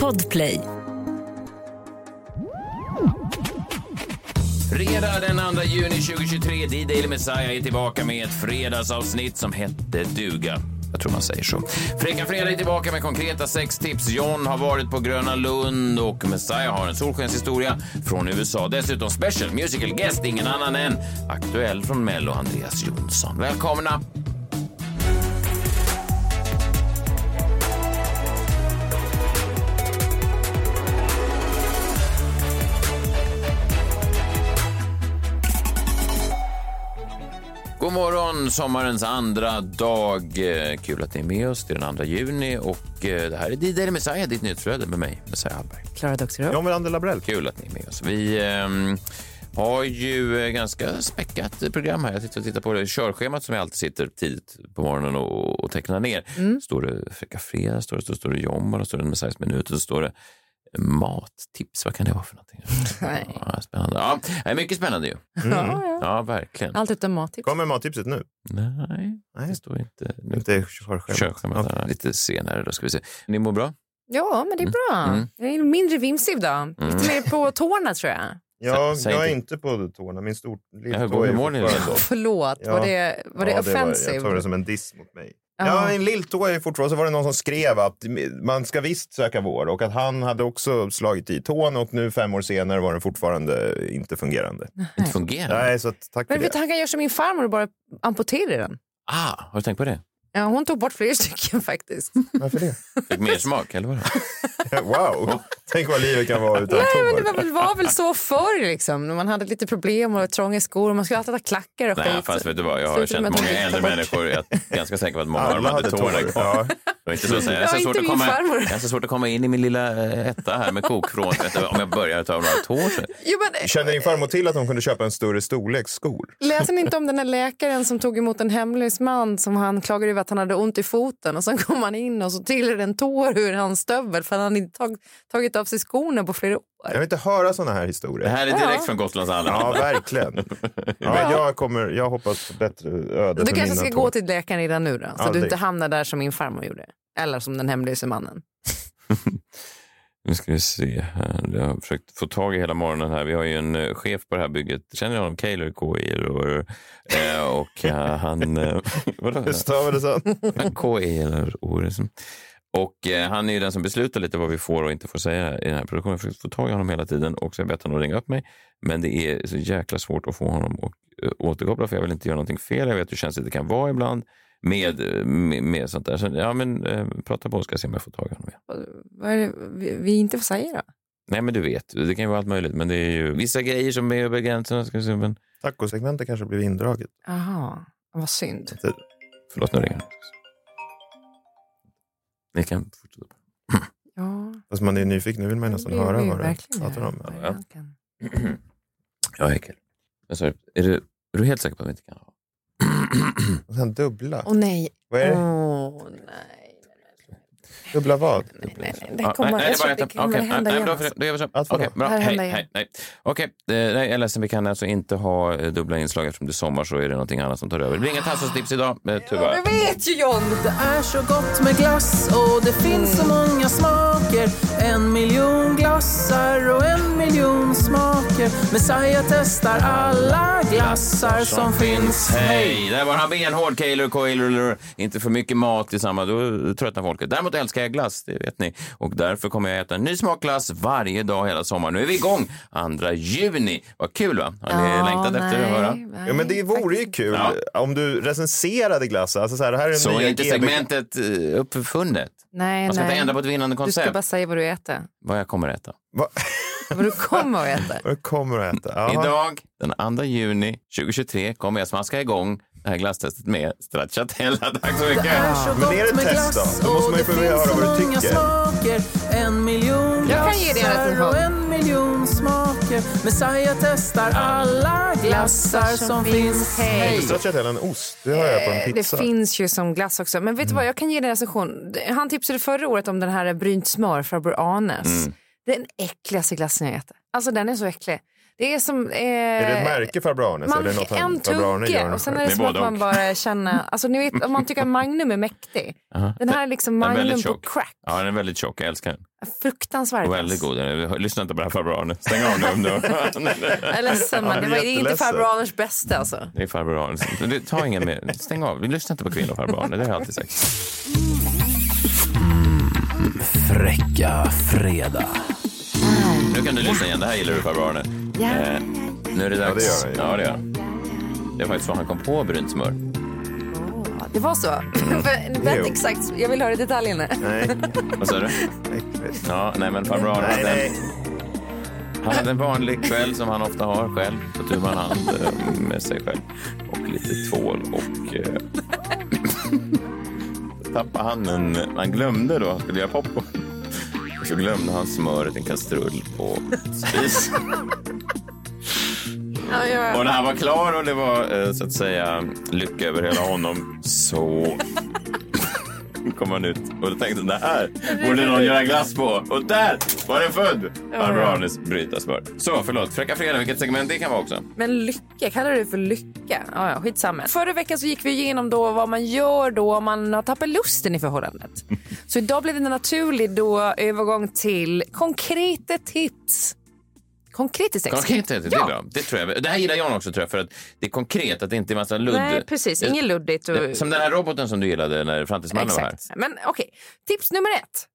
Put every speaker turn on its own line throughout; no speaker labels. Podplay.
Fredag den 2 juni 2023, D-Daily Messiah är tillbaka med ett fredagsavsnitt som hette duga. Jag tror man säger så. Fräcka Fredag är tillbaka med konkreta sextips. John har varit på Gröna Lund och Messiah har en solskenshistoria från USA. Dessutom special musical guest, ingen annan än aktuell från Mello, Andreas Jonsson. Välkomna! God morgon, sommarens andra dag. Eh, Kul att ni är med oss. Det är den 2 juni och eh, det här är D-Daily Messiah, ditt nyhetsflöde med mig, Messiah Hallberg.
Klara Doxerud.
John Wilander Labrell.
Kul att ni är med oss. Vi ehm, har ju eh, ganska späckat program här. Jag sitter och tittar på det. körschemat som jag alltid sitter tidigt på morgonen och, och tecknar ner.
Mm.
Står det Fräcka Fredag, står det, står, står det Jommal, och står det Messiahs minut och så står det eh, mattips. Vad kan det vara för någonting?
Nej.
Ja, spännande. Ja, det är mycket spännande ju.
Ja, ja.
Ja, verkligen.
Mm. Allt utom mattips.
Kommer mattipset nu?
Nej, det
Nej,
står inte nu.
inte körschemat.
Körschemat här lite senare. Då ska vi se. Ni mår bra?
Ja, men det är bra.
Mm.
Jag är mindre vimsig idag. Lite mer på tårna tror jag.
Ja,
Sä- säg
jag är
inte-
inte på tårna. Min stor
Ja, hur
lilltå
går-
är
hur mår ni
fortfarande-
egentligen?
Förlåt,
Ja.
var det, var det
Ja,
offensive?
jag tar det som en diss mot mig.
Ja.
Ja, min lilltå är fortfarande... Så var det någon som skrev att man ska visst söka vård och att han hade också slagit i tån och nu fem år senare var den fortfarande inte fungerande.
Inte fungerar?
Nej, så att, tack för
men vet,
det.
du, han kan göra som min farmor och bara amputera den.
Ah, har du tänkt på det?
Ja, hon tog bort flera stycken faktiskt.
Varför det?
Fick mer smak, eller vadå?
Wow! Tänk vad livet kan vara utan
Nej, men det
tår.
var väl, var väl så förr liksom. När man hade lite problem och trånga skor och man skulle alltid ha klackar och
Nej, fast vet du vad, jag har
Sluta med
känt
att
många
de
äldre
tittar bort.
människor. Jag är ganska säker på att många av dem
Alla
hade
hade
tårar
tår.
kvar.
Ja.
Det var inte så att säga. Jag
Ja,
har så
inte
svårt att
min
komma-
farmor.
jag har så svårt att komma in i min lilla eh, etta här med kokvrån. Vet du, Om jag börjar ta några tår så...
Jo, men,
Kände din farmor till att hon kunde köpa en större storlek skor?
Läser ni inte om den här läkaren som tog emot en hemlös man som han klagade över att han hade ont i foten och sen kom han in och så trillade en tår ur hans stövel för han hade inte tag, tagit av sig skorna på flera år.
Jag vill inte höra sådana här
Det
historier.
här är direkt från Gotlands
Ja,
alla.
verkligen. Ja, jag, kommer, jag hoppas på bättre öde
Du
för
kanske
mina
ska
tår.
gå till läkaren redan nu då, så
Aldrig.
du inte hamnar där som min farmor gjorde. Eller som den hemlöse mannen.
Nu ska vi se här. Jag har försökt få tag i hela morgonen här. Vi har ju en eh, chef på det här bygget. Känner ni honom? Kaylor K.I. Och, eh, och eh, han... eh, Vadå?
Hur stavades han?
KI eller Oresen. Och eh, han är ju den som beslutar lite vad vi får och inte får säga i den här produktionen. Jag försöker få tag i honom hela tiden och så har jag bett honom att ringa upp mig. Men det är så jäkla svårt att få honom att eh, återkoppla för jag vill inte göra någonting fel. Jag vet hur känsligt det kan vara ibland med, eh, med, med sånt där. Så, ja, men eh, prata på ska jag se om jag får tag i honom igen.
Vad är det vi, vi inte får säga då?
Nej, men du vet, det kan ju vara allt möjligt. Men det är ju vissa grejer som är över gränserna. Ska vi se, men...
Tacosegmentet kanske blev indraget.
Jaha, vad synd.
Förlåt, nu ringer han. Ni kan fortsätta.
Ja,
Fast man är ju nyfiken, nu vill man ju nästan
det blir
höra
vi
vad du
Mm, verkligen
pratar
göra.
om.
Ja,
ja.
egentligen.
Ja, Hekel. Jag sa, det. är, du, är du helt säker på att vi inte kan ha?
Och sen dubbla.
Åh nej.
Vad är det?
Åh nej.
Dubbla vad?
nej, nej, nej. Det
Ja,
kommer,
nej,
jag tror att
det
det
är bara
kommer
ett. Okej,
hända
nej,
igen.
bra, för-
alltså.
Då gör vi så.
Att vadå?
Okej, bra.
Det här
Hej,
händer igen.
hej, nej. Okej, eh, nej, jag är ledsen, vi kan alltså inte ha eh, dubbla inslag eftersom det är sommar så är det någonting annat som tar över. Det blir inga
Ah.
Tassos tips idag, eh, tyvärr.
Jag vet ju John!
Det är så gott med glass och det finns så många smaker En miljon glassar och en miljon smaker Messiah testar alla glassar som finns
Hej! Där var han benhård, Kaylor Coylor. Inte för mycket mat i samma, då tröttnar folket. Däremot älskar jag glass, det vet ni. Och därför kommer jag äta en ny smakglass varje dag hela sommaren. Nu är vi igång 2 juni. Vad kul va? Har ni längtat efter att höra?
Ja, men det vore ju kul om du recenserade glassen. Alltså så här, det här är en
Så
nya
är inte
GB
segmentet eh, uppfunnet.
Nej,
Man ska
nej.
inte ändra på ett vinnande
du ska
koncept.
bara säga vad du äter.
Vad jag kommer att äta.
Va-
Vad du kommer att äta.
Vad du kommer att äta. Jaha.
Idag, den 2 juni 2023, kommer jag smaska igång det här glasstestet med stracciatella. Tack så mycket!
Men är det ett test då? Då måste man ju få höra vad du tycker.
smaker En miljon
Jag kan ge dig en
glassar
recension.
och en miljon smaker Messiah testar alla glassar som finns
Hej.
Stracciatella en ost, det har jag på en
Eh, Det
pizza. Mm.
finns ju som glass också. Men vet du vad, jag kan ge dig en recension. Han tipsade förra året om den
Mm.
här brynt smör, farbror Anes. Det är den äckligaste glassen jag äter. Alltså den är så äcklig. Det är som... Eh,
Är det ett märke Farbror Arnes?
man
eller är det något
fick en
han- Farbror Arne
tugga
gör?
och sen är det,
Det är
som att
både
man
och.
bara känner... Alltså ni vet, om man tycker att Magnum är mäktig. Den här är liksom
Den är
Magnum
väldigt
på
tjock.
crack.
Ja, den är väldigt tjock. Jag älskar den.
Fruktansvärt.
Och väldigt god. Lyssna inte på det här Farbror Arne. Stäng av nu om du
Jag är ledsen, men det var det är inte
Jätteledsen. Mm.
farbror Anders bästa alltså.
Det är Farbror Arne. Du, Ta ingen mer. Stäng av. Du lyssnar inte på Kvinnor Farbror Arne. Det har jag alltid sagt.
Fräcka fredag.
Nu kan du lyssna igen. Det här gillar du Farbror Arne. Eh, nu är det dags.
Ja, det gör jag.
Ja, det gör jag. Det var faktiskt vad han kom på, brunt smör.
Ja, Det var så? För- Vet
Mm. Jo.
exakt, jag vill höra detaljerna.
Nej,
Vad sa du?
äckligt.
Ja, nej men farbror Arne,
nej, nej.
Han hade en vanlig kväll som han ofta har själv. På tu man hand eh, med sig själv. Och lite tvål och... Eh, tappade han en... Han glömde då, han skulle göra popcorn. Och så glömde han smöret i en kastrull på spisen.
Ja, ja.
Och när han var klar och det var eh, så att säga lycka över hela honom så kom han ut och då tänkte han det här borde någon göra glass på. Och där var den född! Barbro Arnes bryta smör. Så förlåt, Fräcka Fredag, vilket segment det kan vara också.
Men lycka, kallar du det för lycka? Ja, ja, skitsamma. Förra veckan så gick vi igenom då vad man gör då om man har tappat lusten i förhållandet. Så idag blev det en naturlig då övergång till konkreta tips. Konkreta sex.
Konkret heter det,
Ja.
det är bra. Det tror jag. Det här gillar Jan också tror jag för att det är konkret att det inte är massa ludd.
Nej, precis. Inget luddigt. Och...
Som den här roboten som du gillade när Framtidsmannen var här.
Exakt. Men okej, tips nummer ett.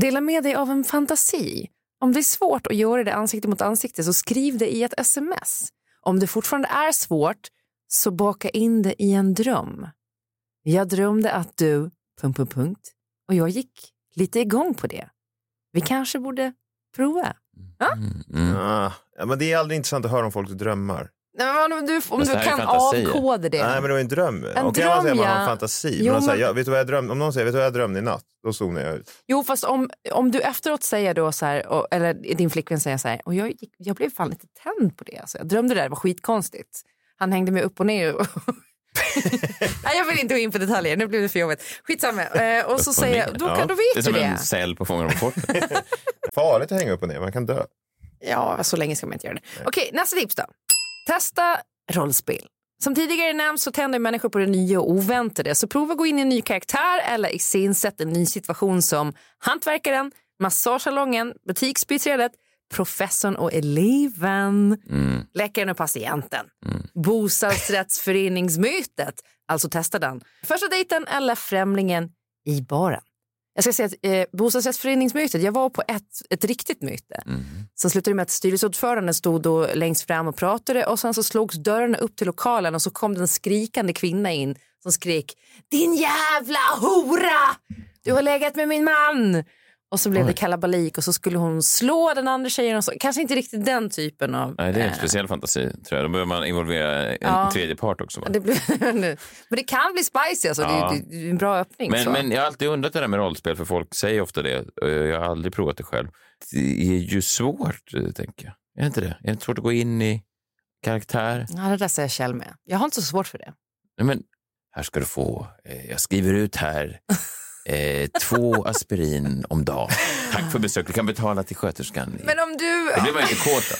Dela med dig av en fantasi. Om det är svårt att göra det ansikte mot ansikte så skriv det i ett sms. Om det fortfarande är svårt så baka in det i en dröm. Jag drömde att du... Punkt, punkt, punkt. Och jag gick lite igång på det. Vi kanske borde prova.
Mm.
Ah, ja, men det är aldrig intressant att höra om folks drömmar.
Nej, men om du, om
Fast
du
det här är
kan
fantasier.
avkoda det.
Nej, men det var ju en dröm. En Okej,
dröm,
man säger att man har
ja.
en fantasi.
Jo,
men
men-
man säger, ja, vet du vad jag drömde? Om någon säger, vet du vad jag drömde i natt? Då zonar jag ut.
Jo, fast om, om du efteråt säger då så här, och, eller din flickvän säger så här, och jag, gick- jag blev fan lite tänd på det. Alltså, jag drömde det där, det var skitkonstigt. Han hängde mig upp och ner. Och Nej, jag vill inte gå in på detaljer, nu blev det för jobbigt. Skitsamma. Eh, och så
och
säger jag,
ner,
då,
ja.
kan, då
Det är
vet du
som
det.
en cell på Fångarna på fortet.
Farligt att hänga upp och ner, man kan dö.
Ja, så länge ska man inte göra det. Okej, nästa tips då. Testa rollspel. Som tidigare nämnts så tänder människor på det nya och oväntade. Så prova att gå in i en ny karaktär eller iscensätt en ny situation som hantverkaren, massagesalongen, butiksbiträdet, professorn och eleven, läkaren och patienten,
Mm.
bostadsrättsföreningsmötet, alltså testa den, första dejten eller främlingen i baren. Jag ska säga att eh, bostadsrättsföreningsmötet, jag var på ett, ett riktigt möte
Mm.
som slutade med att styrelseordföranden stod då längst fram och pratade och sen så slogs dörrarna upp till lokalen och så kom den skrikande kvinna in som skrek din jävla hora! Du har legat med min man! Och så blev det kalabalik och så skulle hon slå den andra tjejen. Och så. Kanske inte riktigt den typen av...
Nej, det är en
eh,
speciell fantasi tror jag. Då behöver man involvera en tredje part också. Va?
det blir, men det kan bli spicy alltså.
Ja.
Det, är- det är en bra öppning. så.
Men, men jag har alltid undrat det där med rollspel, för folk säger ofta det. Eh, Jag har aldrig provat det själv. Det är ju svårt, eh, tänker jag. Är det inte det? Är det inte svårt att gå in i karaktär?
Ja, det där säger Kjell med. Jag har inte så svårt för det.
Nej, men här ska du få. Eh, Jag skriver ut här. Eh, två aspirin om dagen. Tack för besök. Du kan betala till sköterskan.
Men om du...
Det blir man ju lite kåt av.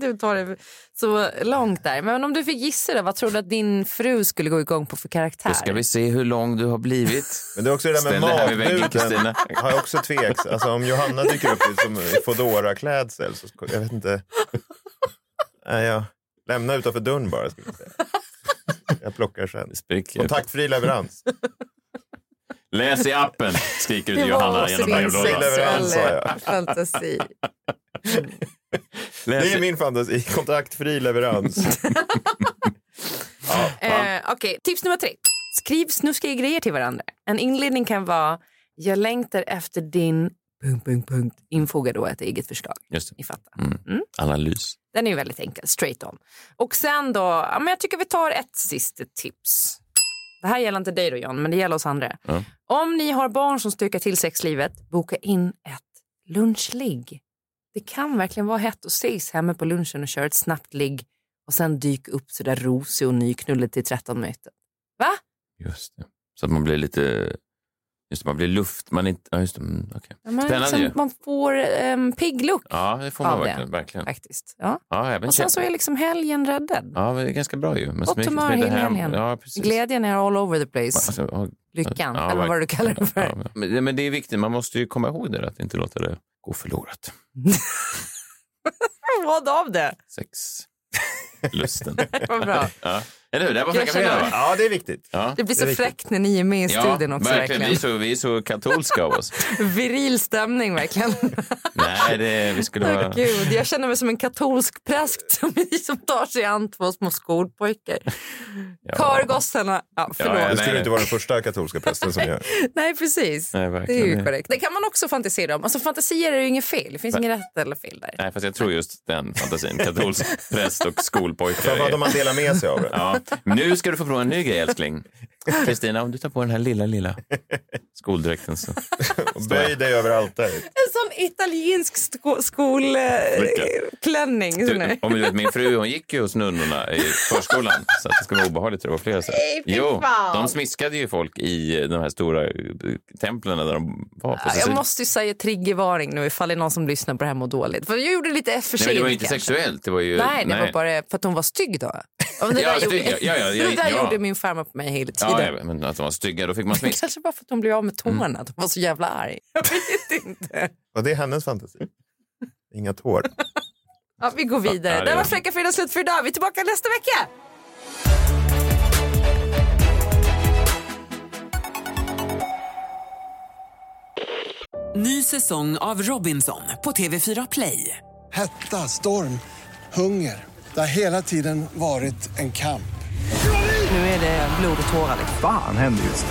Du tar det så långt där. Men om du fick gissa då, vad tror du att din fru skulle gå igång på för karaktär?
Då ska vi se hur lång du har blivit.
Men det är också det där
Ställ
med
dig här vid väggen, Kristina.
magduten. Har jag också tveks. Alltså om Johanna dyker upp i som fodora klädsel så sk- jag vet inte. Nej, jag lämnar utanför dörren bara. Ska jag, säga. jag plockar sen.
Spricker.
Kontaktfri leverans.
Läs i appen, skriker du till
Det var
Johanna
också
genom
din
brevlådan.
Leverans, sa
sexuella
jag.
fantasi.
Det
Läs
är
i-
min fantasi. Kontaktfri leverans.
Eh, Okej, tips nummer tre. Skriv snuskiga grejer till varandra. En inledning kan vara jag längtar efter din... Punkt, punkt, punkt. Infoga då ett eget förslag.
Just det.
Ni fattar.
Analys.
Den är ju väldigt enkel, straight on. Och sen då, ja, men jag tycker vi tar ett sista tips. Det här gäller inte dig då John, men det gäller oss andra. Om ni har barn som stökar till sexlivet, boka in ett lunchligg. Det kan verkligen vara hett att ses hemma på lunchen och köra ett snabbt ligg och sen dyka upp sådär rosig och nyknullig till 13 möten. Va?
Just det. Så att man blir lite Just det, man blir luft. Man är inte, ja, just det. Mm, okej.
Ja, man,
Spännande
liksom,
ju.
man får en pigg look
Ja, det får man
Av det.
verkligen. verkligen.
faktiskt. Ja.
Ja, även
Och sen så är liksom helgen räddad.
Ja, men det är ganska bra ju. Man
Gott
smyger-
humör
smyger
hela
hem.
helgen.
Ja, precis.
Glädjen är all over the
Man-
place.
alltså, ja,
Lyckan,
ja,
eller vad
verk-
du kallar det för.
ja, men, men- men det är viktigt. Man måste ju komma ihåg det, där, att inte låta det gå förlorat.
Vad av det?
Sex. Lusten.
Vad bra.
Ja. Eller hur? Det här var
Jag
Fräcka
känner-
Fredag, va?
Ja, det är viktigt.
Ja.
Det blir så
Det är riktigt.
fräckt när ni är med i studion också. Verkligen.
verkligen. Vi, är så, vi är så katolska av oss.
Viril stämning verkligen.
Nej, det, vi skulle
Åh,
vara...
Gud, jag känner mig som en katolsk präst som, som tar sig an två små skolpojkar. Körgossarna. Ja, förlåt.
Ja,
Det
nej,
skulle
nej.
inte vara den första katolska prästen som gör.
Nej, precis.
Nej,
det
verkligen.
är ju korrekt. Det kan man också fantisera om. Alltså, fantasier är ju inget fel. Det finns inget rätt eller fel där.
Nej, fast jag tror just den fantasin. Katolsk präst och skolpojkar.
Framförallt
är-
om man delar med sig av det.
Ja. Nu ska du få prova en ny grej, älskling. Kristina, om du tar på den här lilla, lilla skoldräkten så...
Och Böj dig över altaret.
En sån italiensk
Flicka.
skolklänning.
Du, om du vet, min fru hon gick ju hos nunnorna i förskolan, så att det skulle vara obehagligt att det var flera. Så. här.
Nej, fy
Jo,
fan.
de smiskade ju folk i de här stora eh, templen där de var. på
Jag
Sicilien.
måste ju säga triggervarning nu ifall det är någon som lyssnar på det här mår dåligt. För jag gjorde det lite för
Nej, men det var ju inte
sent kanske.
sexuellt. Det var ju...
Nej, det var bara för att hon var stygg då. Ja, men det
typ. Ja,
där, gjorde,
stygg, ja, ja, ja,
det där
ja.
gjorde min farmor på mig hela tiden.
Ja, ja, men att de var stygga, då fick man smisk.
Kanske bara för att hon blev av med tårna, att hon var så jävla arg. Jag vet inte.
Och det är hennes fantasi. Inga tår.
Ja, vi går vidare.
Ja,
det
det
var
gör vi.
Fräcka Fredag slut för idag. Vi är tillbaka nästa vecka.
Ny säsong av Robinson på TV4 Play.
Hetta, storm, hunger. Det har hela tiden varit en kamp.
Nu är det blod och tårar.
Fan händer just det.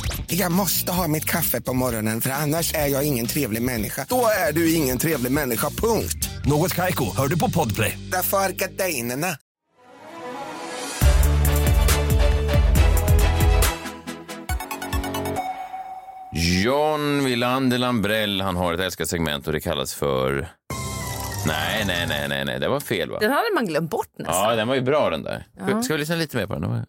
Jag måste ha mitt kaffe på morgonen för annars är jag ingen trevlig människa. Då är du ingen trevlig människa, punkt.
Något Kaiko, hör du på Podplay.
Därför är gardinerna.
John Wilander Lambrell, han har ett älskat segment och det kallas för... Nej, nej, nej, nej, nej. det var fel va?
Den hade man glömt bort nästan.
Ja, den var ju bra den där. Alltså. Ska, ska vi lyssna lite mer på den? Den var-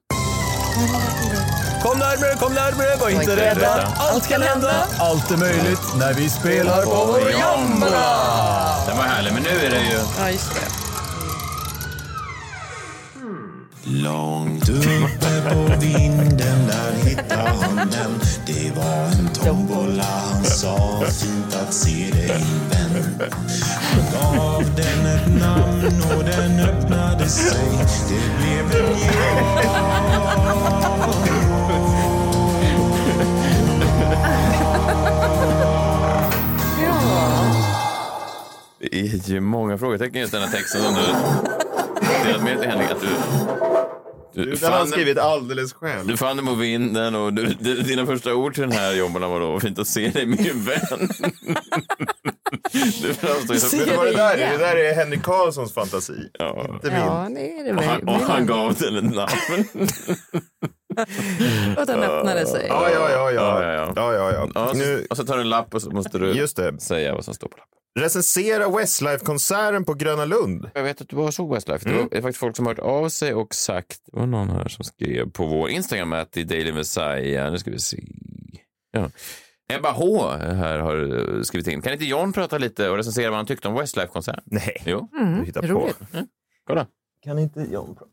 Kom närmare, kom närmare, var inte rädda. Allt kan hända, allt är möjligt när vi spelar på vår
Den var härlig, men nu är det ju...
Ja, just det.
Långt uppe på vinden där hittade han den Det var en tombola han sa fint att se dig vän Han gav den ett namn och den öppnade sig Det blev en
Det är ju många frågetecken just den här texten som du delat med dig till Henrik. Att du, du,
Den har han
fann,
skrivit alldeles själv.
du fann den på vinden och du, d- dina första ord till den här jobben var då fint att se dig min vän. du framstår ju
Vet du
som...
vad det där
igen.
är? Det där är Henrik Carlssons fantasi.
Ja.
Inte min.
Ja, det är det
Och
väl.
han, och han gav den ett namn.
Och den öppnade sig.
Ja, ja, ja.
Ja, ja,
ja.
ja.
ja, ja, ja.
Ja, och så-
Nu,
Och så tar du en lapp och så måste du
just det.
säga vad som står på lappen.
Recensera Westlife-konserten på Gröna Lund.
Jag vet att du bara såg Westlife.
Mm.
Det var- Det är faktiskt folk som har hört av sig och sagt, det var någon här som skrev på vår Instagram att i Daily Messiah, nu ska vi se. Ja. Ebba H här har eh, skrivit in. Kan inte John prata lite och recensera vad han tyckte om Westlife-konserten?
Nej,
Jo,
Mm.
du hittar
roligt.
på.
kolla.
Kan inte John prata?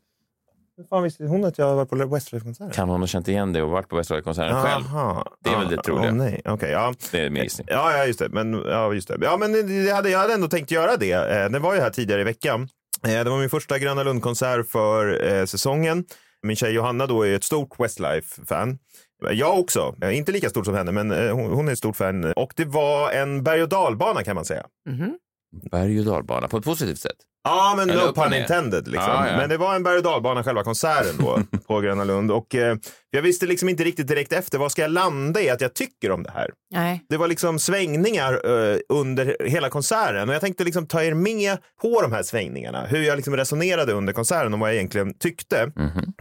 Hur fan visste hon att jag har varit på Westlife-konserten?
Kan hon ha känt igen det och varit på Westlife-konserten själv?
Aha.
Det är väl det
Ja,
troliga.
åh, nej. Okej, ja.
Det är min gissning.
Ja, ja, just det. Men, ja, just det. Ja, men det hade, jag hade ändå tänkt göra det. Eh, Det var ju här tidigare i veckan. Eh, Det var min första Gröna Lund-konsert för eh, säsongen. Min tjej Johanna då är ett stort Westlife-fan. Jag också. Eh, Inte lika stort som henne, men eh, hon, hon är ett stort fan. Och det var en berg och dalbana kan man säga.
Berg och dalbana på ett positivt sätt.
Ja, men
Eller
no
upp och
pun
ner.
intended. Liksom.
Ja, ja.
Men det var en berg och dalbana själva konserten då på Gröna Lund. Och eh, jag visste liksom inte riktigt direkt efter, vad ska jag landa i att jag tycker om det här?
Nej.
Det var liksom svängningar eh, under hela konserten och jag tänkte liksom ta er med på de här svängningarna. Hur jag liksom resonerade under konserten och vad jag egentligen tyckte.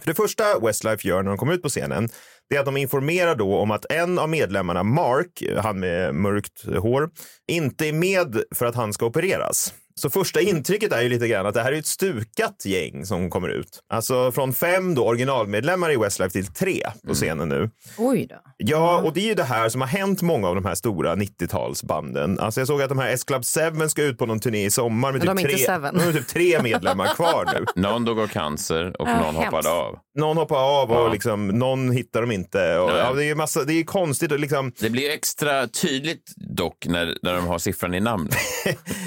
För det första Westlife gör när de kommer ut på scenen det är att de informerar då om att en av medlemmarna, Mark, han med mörkt hår, inte är med för att han ska opereras. Så första intrycket är ju lite grann att det här är ett stukat gäng som kommer ut. Alltså från fem då originalmedlemmar i Westlife till tre på scenen nu.
Oj då.
Ja, och det är ju det här som har hänt många av de här stora 90-talsbanden. Alltså jag såg att de här S-Club 7 ska ut på någon turné i sommar med
Men de
typ,
är inte
tre,
Seven.
de har typ tre medlemmar kvar nu.
Någon dog av cancer och
Ja,
någon hoppade
hemskt.
av.
Någon hoppar av och
Ja.
liksom, någon hittar dem inte. Och,
Nej.
ja, det, är ju massa, det är konstigt och liksom,
Det blir extra tydligt dock när, när de har siffran i namnet.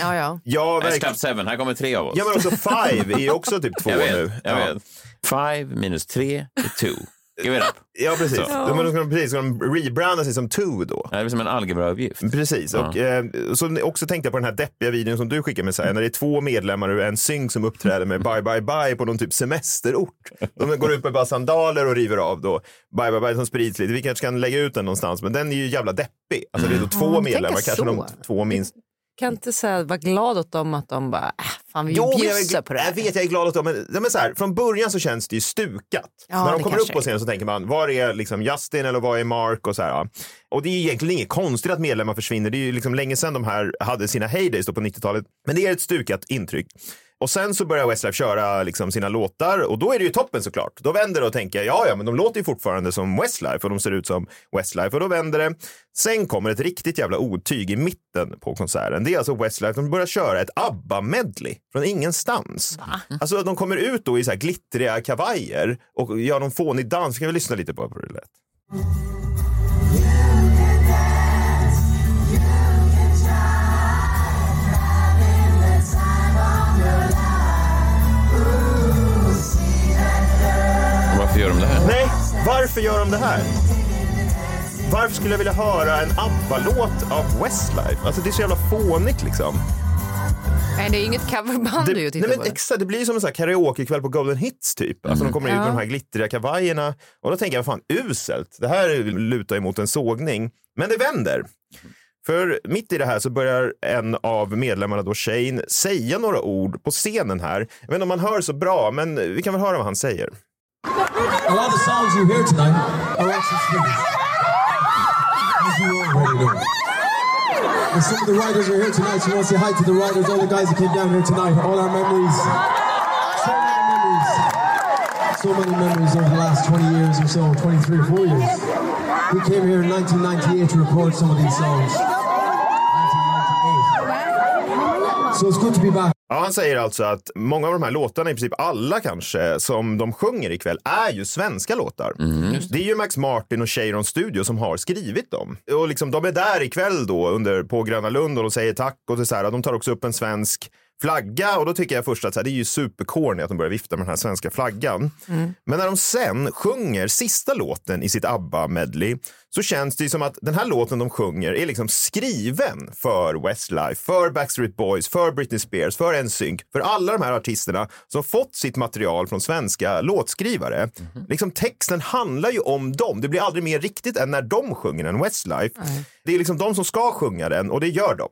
Ja, ja.
ja,
S
verkligen.
Club 7, här kommer tre av oss.
Ja, men också Five är ju också typ två
jag vet,
nu.
jag
ja.
vet. Five minus tre är two. Give it up.
ja, precis. Ja. Men då ska de, precis, ska de rebranda sig som Two då.
Det här är som en algebrauppgift.
Precis, och eh, så också tänkte jag på den här deppiga videon som du skickade med Saja, när det är två medlemmar ur en synk som uppträder med Bye Bye Bye på någon typ semesterort. De går ut med bara sandaler och river av då Bye Bye Bye som sprids lite. Vi kanske kan lägga ut den någonstans, men den är ju jävla deppig. Alltså det är då två
Mm,
medlemmar,
tänk så.
kanske de två minst.
Kan inte säga, vara glad åt dem att de bara, äh, fan vi
Jo, men
bjussar
jag,
på det här.
jag vet, jag är glad åt dem, men, ja, men så här, från början så känns det ju stukat.
Ja,
När
det
de kommer upp
kanske
på
är.
scenen så tänker man, var är liksom Justin eller var är Mark och så här. ja. Och det är ju egentligen inget konstigt att medlemmar försvinner. Det är ju liksom länge sedan de här hade sina heydays då på 90-talet. Men det är ett stukat intryck. Och sen så börjar Westlife köra liksom sina låtar och då är det ju toppen såklart. Då vänder det och tänker ja, ja, men de låter ju fortfarande som Westlife och de ser ut som Westlife och då vänder det. Sen kommer ett riktigt jävla otyg i mitten på konserten. Det är alltså Westlife som börjar köra ett ABBA-medley från ingenstans. Alltså att de kommer ut då i så här glittriga kavajer och gör någon fånig dans. Kan vi lyssna lite på hur det lät?
Varför gör de det här?
Nej, varför gör de det här? Varför skulle jag vilja höra en ABBA-låt av Westlife? Alltså det är så jävla fånigt liksom.
Nej, det är inget coverband
Det,
du
nej,
tittar
men
på. Mm.
exakt, det blir ju som en sån här karaokekväll på Golden Hits typ. Alltså de kommer ut med
Ja.
de här glittriga kavajerna och då tänker jag, fan uselt. Det här lutar emot en sågning. Men det vänder. För mitt i det här så börjar en av medlemmarna då, Shane, säga några ord på scenen här. Jag vet inte om man hör så bra, men vi kan väl höra vad han säger.
A lot of the songs you hear tonight are actually singers. As you are already doing. And some of the writers are here tonight, so you want to say hi to the writers, all the guys that came down here tonight, all our memories. So many memories. So many memories over the last 20 years or so, 23 or 4 years. We came here in 1998 to record some of these songs. 1998. So it's good to be back.
Ja, han säger alltså att många av de här låtarna, i princip alla kanske, som de sjunger ikväll är ju svenska låtar. det. är ju Max Martin och Cheiron Studio som har skrivit dem. Och liksom, de är där ikväll då under, på Gröna Lund och de säger tack och det är så här, de tar också upp en svensk flagga och då tycker jag först att så här, det är ju supercorny att de börjar vifta med den här svenska flaggan. Men när de sen sjunger sista låten i sitt ABBA-medley så känns det ju som att den här låten de sjunger är liksom skriven för Westlife, för Backstreet Boys, för Britney Spears, för NSYNC, för alla de här artisterna som fått sitt material från svenska låtskrivare. Liksom texten handlar ju om dem. Det blir aldrig mer riktigt än när de sjunger den, Westlife. Det är liksom de som ska sjunga den och det gör de.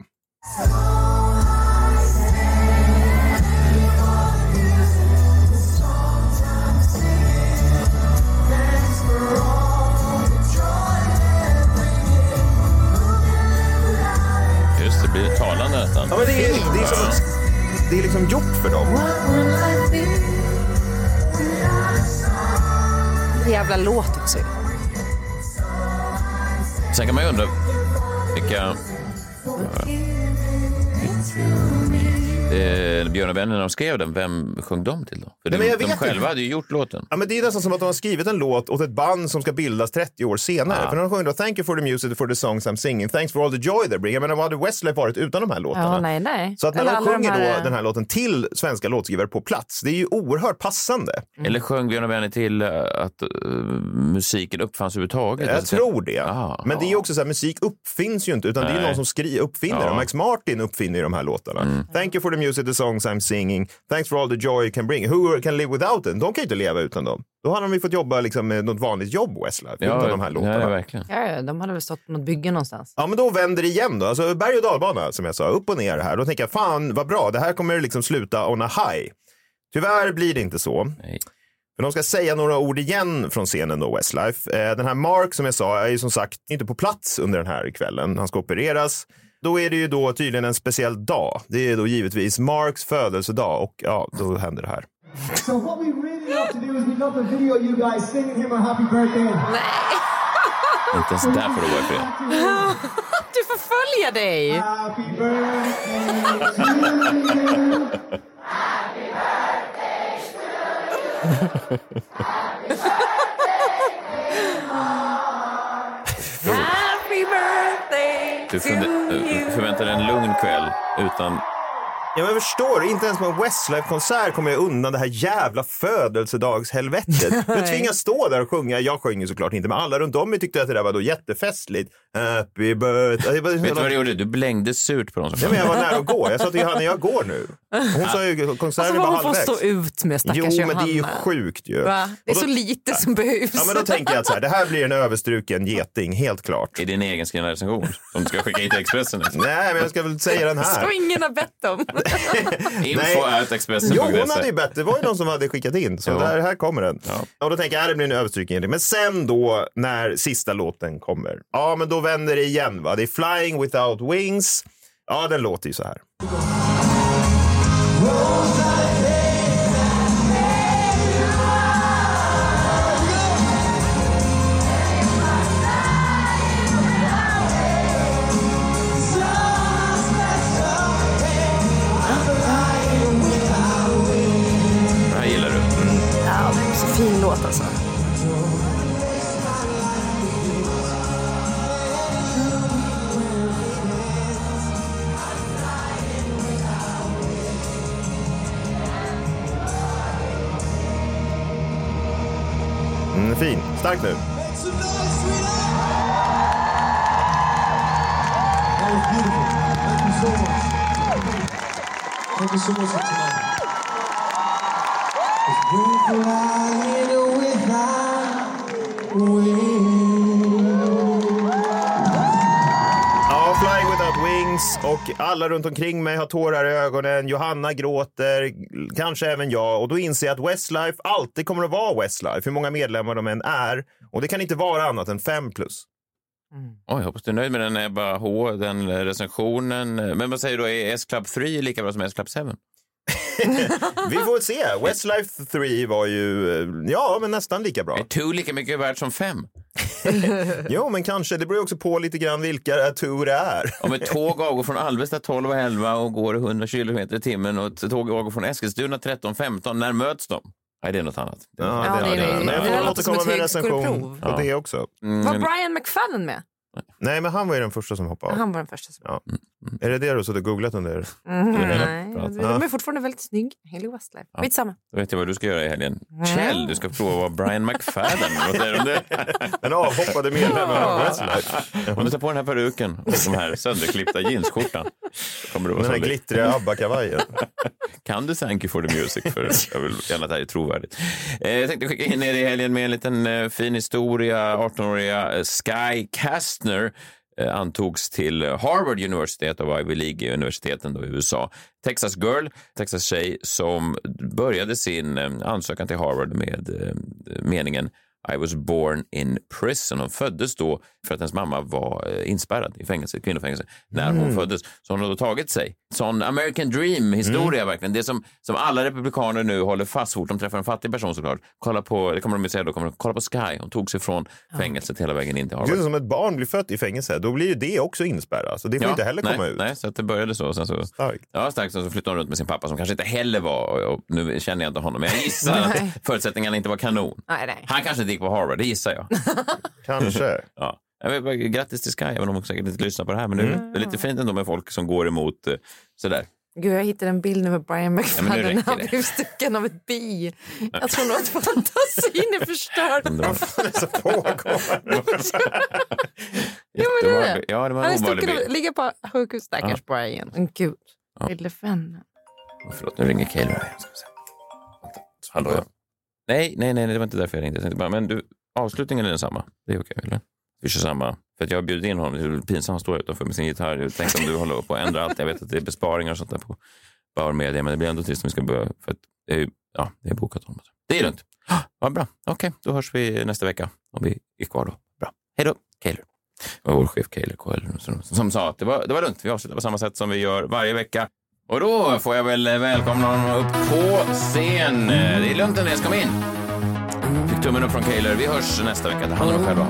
Just det, det blir talande nästan.
Ja, men det, är, det, är som, det är liksom gjort för dem.
Jävla låt också.
Sen kan man ju undra vilka... Eh, Björn och Benny, när de skrev den, vem sjöng de till då? För
Nej,
de,
men jag
de
vet
själva
inte.
hade ju gjort låten.
Ja, men det är nästan som att de har skrivit en låt åt ett band som ska bildas 30 år senare. För de sjunger då Thank you for the music for the songs I'm singing, thanks for all the joy they bring. Jag menar, vad hade Westlife varit utan de här låtarna?
Ja, nej, nej.
Så att när
Eller
de
alla
sjunger
här, eh,
då den här låten till svenska låtskrivare på plats, det är ju oerhört passande.
Eller sjöng Björn och Benny till eh, att eh, musiken uppfanns överhuvudtaget?
Jag
Alltså,
tror det.
Ah,
men det är ju
ah.
också så här, musik uppfinns ju inte, utan det är ju
Nej.
någon som skri- uppfinner
Ja.
dem. Max Martin uppfinner ju de här låtarna. Thank you for the music, the songs I'm singing. Thanks for all the joy you can bring. Who can live without them? De kan ju inte leva utan dem. Då hade de ju fått jobba liksom, med något vanligt jobb, Westlife, utan de här låtarna.
Ja, verkligen.
Ja, ja, de hade väl stått på något bygge någonstans.
Ja, men då vänder det igen då. Alltså berg och dalbana som jag sa, upp och ner här. Då tänker jag, fan vad bra, det här kommer liksom sluta on a high. Tyvärr blir det inte så.
Nej.
Men de ska säga några ord igen från scenen då, Westlife. Eh, den här Mark som jag sa är ju som sagt inte på plats under den här kvällen. Han ska opereras. Då är det ju då tydligen en speciell dag. Det är då givetvis Marks födelsedag och ja, då händer det här.
So what we really love to do is we love the video of you guys singing him a happy birthday.
Inte ens där får det vara fel.
Du förföljer dig!
Happy birthday to you.
Happy birthday
Du eh,
to
förvä-
you!
förväntar dig en lugn kväll utan...
Ja, men jag förstår, inte ens på en Westlife-konsert kommer jag undan det här jävla födelsedagshelvetet. Jag tvingas stå där och sjunga. Jag sjöng ju såklart inte, men alla runt om mig tyckte att det där var då jättefestligt. Happy birthday. Jag, bara,
Vet du vad du gjorde? Du blängde surt på dem som
Ja, men jag var nära att gå. Jag sa till Johanna, jag går nu. Hon sa ju konserten
Alltså
var
vad hon får
halvvägs.
stå ut med,
Jo,
stackars
men
Johanna.
det är ju sjukt ju.
Va? Det är
Och då-
så lite som behövs.
Ja, men då tänker jag att så här, det här blir en överstruken geting, helt klart.
i din egen skrivna recension som du ska skicka in till Expressen. efter.
Nej, men jag ska väl säga den här.
Som ingen har bett om.
Info
Nej.
at
Jo, hon hade
Expressen.se.
ju bett. Det var ju någon som hade skickat in. Så
Ja.
där, här kommer den.
Ja.
Och då tänker jag, äh, det blir en överstrykning. Men sen då, när sista låten kommer. Ja, men då vänder det igen. Va? Det är Flying Without Wings. Ja, den låter ju så här.
Det här gillar du.
Ja, det är så fin låt alltså.
Mm, fin. Stark nu.
That was beautiful. Thank you so much. Thank you so much for tonight. 'Cause we're flying without wings.
Ja, Flying Without Wings. Och alla runt omkring mig har tårar i ögonen. Johanna gråter. Kanske även jag. Och då inser jag att Westlife alltid kommer att vara Westlife. Hur många medlemmar de än är. Och det kan inte vara annat än fem plus.
Oj, jag hoppas du är nöjd med den Ebba H, den eh, recensionen. Men vad säger du, då, är S-Club 3 lika bra som S-Club 7?
Vi får väl se. Westlife 3 var ju, eh, ja, men nästan lika bra.
Är 2 lika mycket värt som 5?
Jo, men kanske. Det beror ju också på lite grann vilka tur det är.
Om ett tåg avgår från Alvesta 12 och 11 och går 100 kilometer i timmen och ett tåg avgår från Eskilstuna 13 15, när möts de? Nej, det är något annat. Det är något annat.
Ja, det är- det är-
Men
det
jag får
låter
väl
som
återkomma
ett
med en recension
högskoleprov.
på det också.
Var Brian McFadden med?
Nej, men han var ju den första som hoppade av.
Han var den första som...
Är det det du har suttit och googlat under? Mm.
Nej, de är fortfarande väldigt snygg. Haley Westlife. Skitsamma.
Då vet jag vad du ska göra i helgen. Kjell, du ska prova att vara Brian McFadden. Vad säger du om det?
Den avhoppade medlemmen av Westlife.
Om du tar på den här peruken och den här sönderklippta jeansskjortan. så Kommer du vara
Den här
sannolikt.
glittriga ABBA-kavajen.
Kan du Thank you for the music? För jag vill gärna att det här är trovärdigt. Eh, jag tänkte skicka in er i helgen med en liten eh, fin historia. 18-åriga eh, Sky Kastner eh, antogs till eh, Harvard University, ett av Ivy League-universiteten då i USA. Texas girl, Texas tjej, som började sin eh, ansökan till Harvard med eh, meningen I was born in prison. Hon föddes då för att hennes mamma var eh, inspärrad i fängelse, kvinnofängelse när
Mm.
hon föddes. Så hon har då tagit sig. Sån American
Mm.
dream-historia verkligen. Det som, som alla republikaner nu håller fast så fort de träffar en fattig person såklart. Kolla på, det kommer de ju säga då, kommer de, kolla på Sky. Hon tog sig från fängelset hela vägen in till
Det är
Harvard.
som ett barn blir fött i fängelse. Då blir ju det också inspärrat. Så det får inte heller
nej,
komma ut.
Nej, så att det började så. och Sen så
Starkt.
Ja, starkt. Sen så flyttade hon runt med sin pappa som kanske inte heller var, och och nu känner jag inte honom, men jag gissar
Nej.
att förutsättningarna inte var kanon.
Nej, nej.
Han kanske inte gick på Harvard, det gissar jag.
Kanske.
Ja. Jag vill bara, grattis till Sky, även om de säkert inte lyssnar på det här. Men det är, det är lite fint ändå med folk som går emot eh, sådär.
Gud, jag hittade en bild nu med Brian
men
McFadden när
nu räcker
han
det.
blev stucken av ett bi. Jag tror nog att fantasin är förstörd.
Underbar-
Så pågår det.
men det är det. Alltså,
jätteobehaglig- Ja, det var
Han är
en obehaglig
stucken
bild.
av, ligger på sjukhus, stackars Brian. Men gud, lille vännen.
Oh, förlåt, nu ringer Kaeli. Jag ska se. Vänta. Hallå, ja. Nej, nej, nej, det var inte därför jag ringde. Jag tänkte bara, men du, avslutningen är densamma. Det är okej, eller? Vi kör samma. För att jag bjöd in honom. Det är pinsamt att han står utanför med sin gitarr. Jag tänkte om du håller på att ändra allt. Jag vet att det är besparingar och sånt där på Bauer Media, men det blir ändå trist om vi ska börja. För att, det är ju- ja, det är bokat honom. Det är lugnt. Ah, Vad bra. Okej, då hörs vi nästa vecka om vi är kvar då. Bra. Hej då, Kaeli. Det var vår chef Kaeli Coelho som, som sa att det var, det var lugnt. Vi avslutar på samma sätt som vi gör varje vecka. Och då får jag väl eh, välkomna honom upp på scen. Det är lugnt Andreas, kom in. Fick tummen upp från Kaeli. Vi hörs nästa vecka. Ta hand om er själva.